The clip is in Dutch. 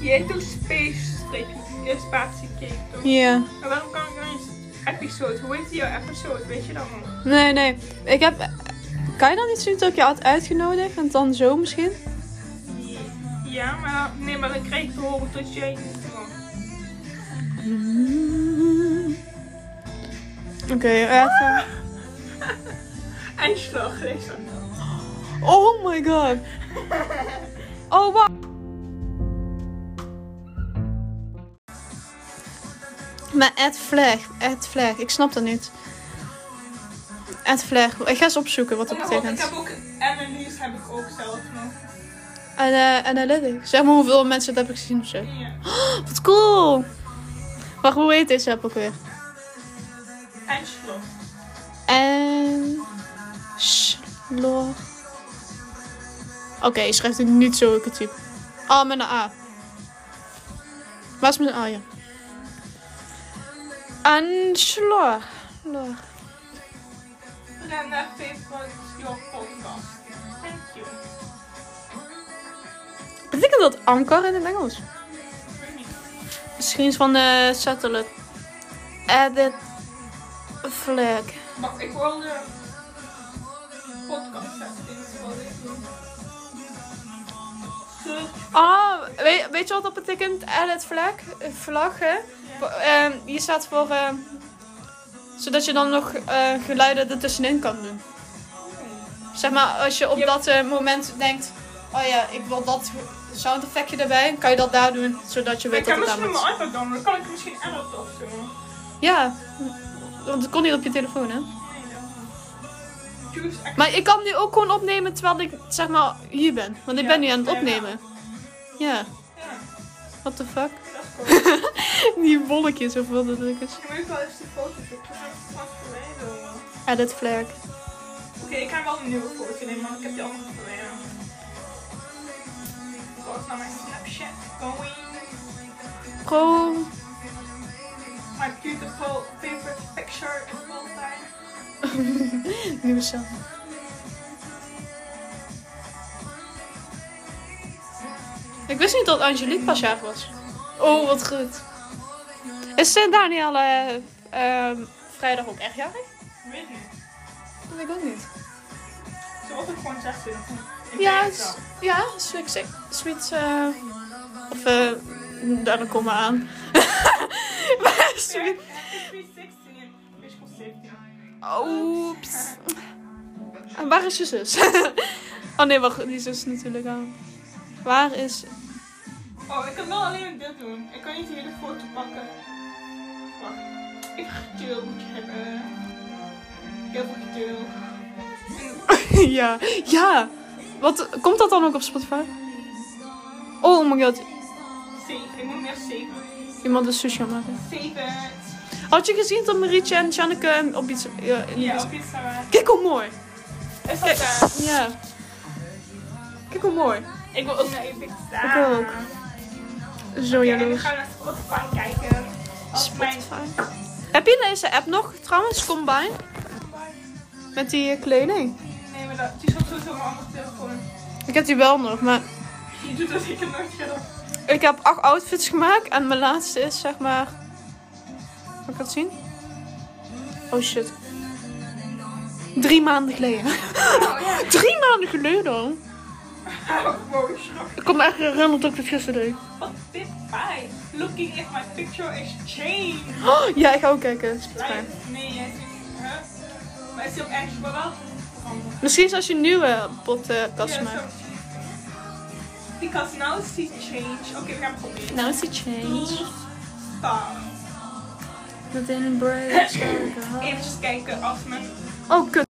Je heet toch Space Streepje? Je spatiecake toch? Ja. Maar waarom kan ik dan eens episode? Hoe heet die jouw episode? Weet je dat nog? Nee, nee. Ik heb... Kan je dan niet zien dat ik je had uitgenodigd? En dan zo misschien? Ja, maar, nee, maar dan kreeg ik te horen dat jij niet kwam. Oké, even. Eindslag, lees dat. Oh my god. Oh, wacht. Maar Ed Flag, Ed Flag, ik snap dat niet. Ed Flag, ik ga eens opzoeken wat dat Ik betekent. heb ook analyse heb ik ook zelf nog. En, eh, analytics, zeg maar hoeveel mensen dat heb ik gezien of zo. Ja. Wat cool! Wacht, hoe heet deze app ook weer? Eindslag. En. Slor. Oké, je schrijft het niet zo ik het type. Ah, met een A. Waar is mijn A? Ja. Anslor. Lor. We gaan naar favorite your podcast. Thank you. Betekent dat anker in het Engels? Ik weet niet. Misschien is van de satellite. Edit. Flag. Maar ik wilde podcast zetten. dit is wat ik doe. Search. Ah, weet, weet je wat dat betekent? Edit flag? eh, Vlag, hè? Voor- ehm, hier staat voor. ehm, zodat je dan nog eh, geluiden ertussenin kan doen. Zeg maar, als je op Ja. dat eh, moment denkt. Oh ja, ik wil dat sound effectje erbij. dan Kan je dat daar doen, zodat je Ik weet kan dat het daar misschien moet. mijn iPad dan, dan kan ik misschien edit of zo. Ja, want het kon niet op je telefoon, hè? Juice echt. Maar ik kan nu ook gewoon opnemen terwijl ik zeg maar hier ben. Want ik Ja, ben nu aan het ja, ja. opnemen. Ja, Ja, what the fuck? dat is cool. Die bolletjes of wat het ook is. Je moet wel eens de foto's op. Ik heb het straks verwijderen. Edit flag. Oké, ik ga wel een nieuwe foto nemen, want ik heb die andere verwijderd. Zoals naar mijn Snapchat going. Pro. My beautiful favorite picture is all time. Nieuwe sound. Ik wist niet dat Angelique pas jarig was. Oh, wat goed. Is eh, Danielle eh, ehm, vrijdag ook echt jarig? Ik weet niet. Dat weet ik ook niet. Ze was ook gewoon 16. Ik Ja, weet het s- wel. ja, sweet. sec- sweet eh, of eh, daar dan kom maar aan. Maar sweet. Ja, ik ben 16 en ik was 17. Oeps. En waar is je zus? oh nee, wacht, die zus is natuurlijk aan. Waar is Oh, ik kan wel alleen dit doen. Ik kan niet hier de foto pakken. Wacht. Ik geduld moet je hebben. Heel veel geduld. ja, ja. Wat, komt dat dan ook op Spotify? Oh my god, Zeven. Ik moet meer zeven. iemand is sushi aan het maken. Zeven. Had je gezien dat Marietje en Janneke op iets... ja, in Ja, iets- op pizza. Kijk hoe mooi. Is dat daar? Ja. Kijk hoe mooi. Ik wil ook naar je pizza. Ik ook. Zo Ja, en we jaloers. gaan naar Spotify kijken. Als mijn... Spotify. Heb je deze app nog trouwens, Combine? Met die eh, kleding? Nee, maar dat, die zat sowieso op mijn andere telefoon. Ik heb die wel nog, maar Die doet dat zeker nooit veel. ik heb acht outfits gemaakt en mijn laatste is zeg maar... Kan ik dat zien? Oh shit. Drie maanden geleden. Oh ja. Drie maanden geleden. Oh, Wow, schrok. Ik kom echt herinneren dat ik het gisteren deed. Wat dit bij? Looking at my picture is changed. Oh, ja, ik ga ook kijken. Spotify. Lijkt- Nee, jij ziet hè? Maar is die op Engels wel wel? veranderd? Misschien is als je een nieuwe podcast Ja, maakt. zo. Because now she changed. Oké, we gaan het proberen. Now it's a change. Stop. Within a break. Even kijken als mijn Oh, kut.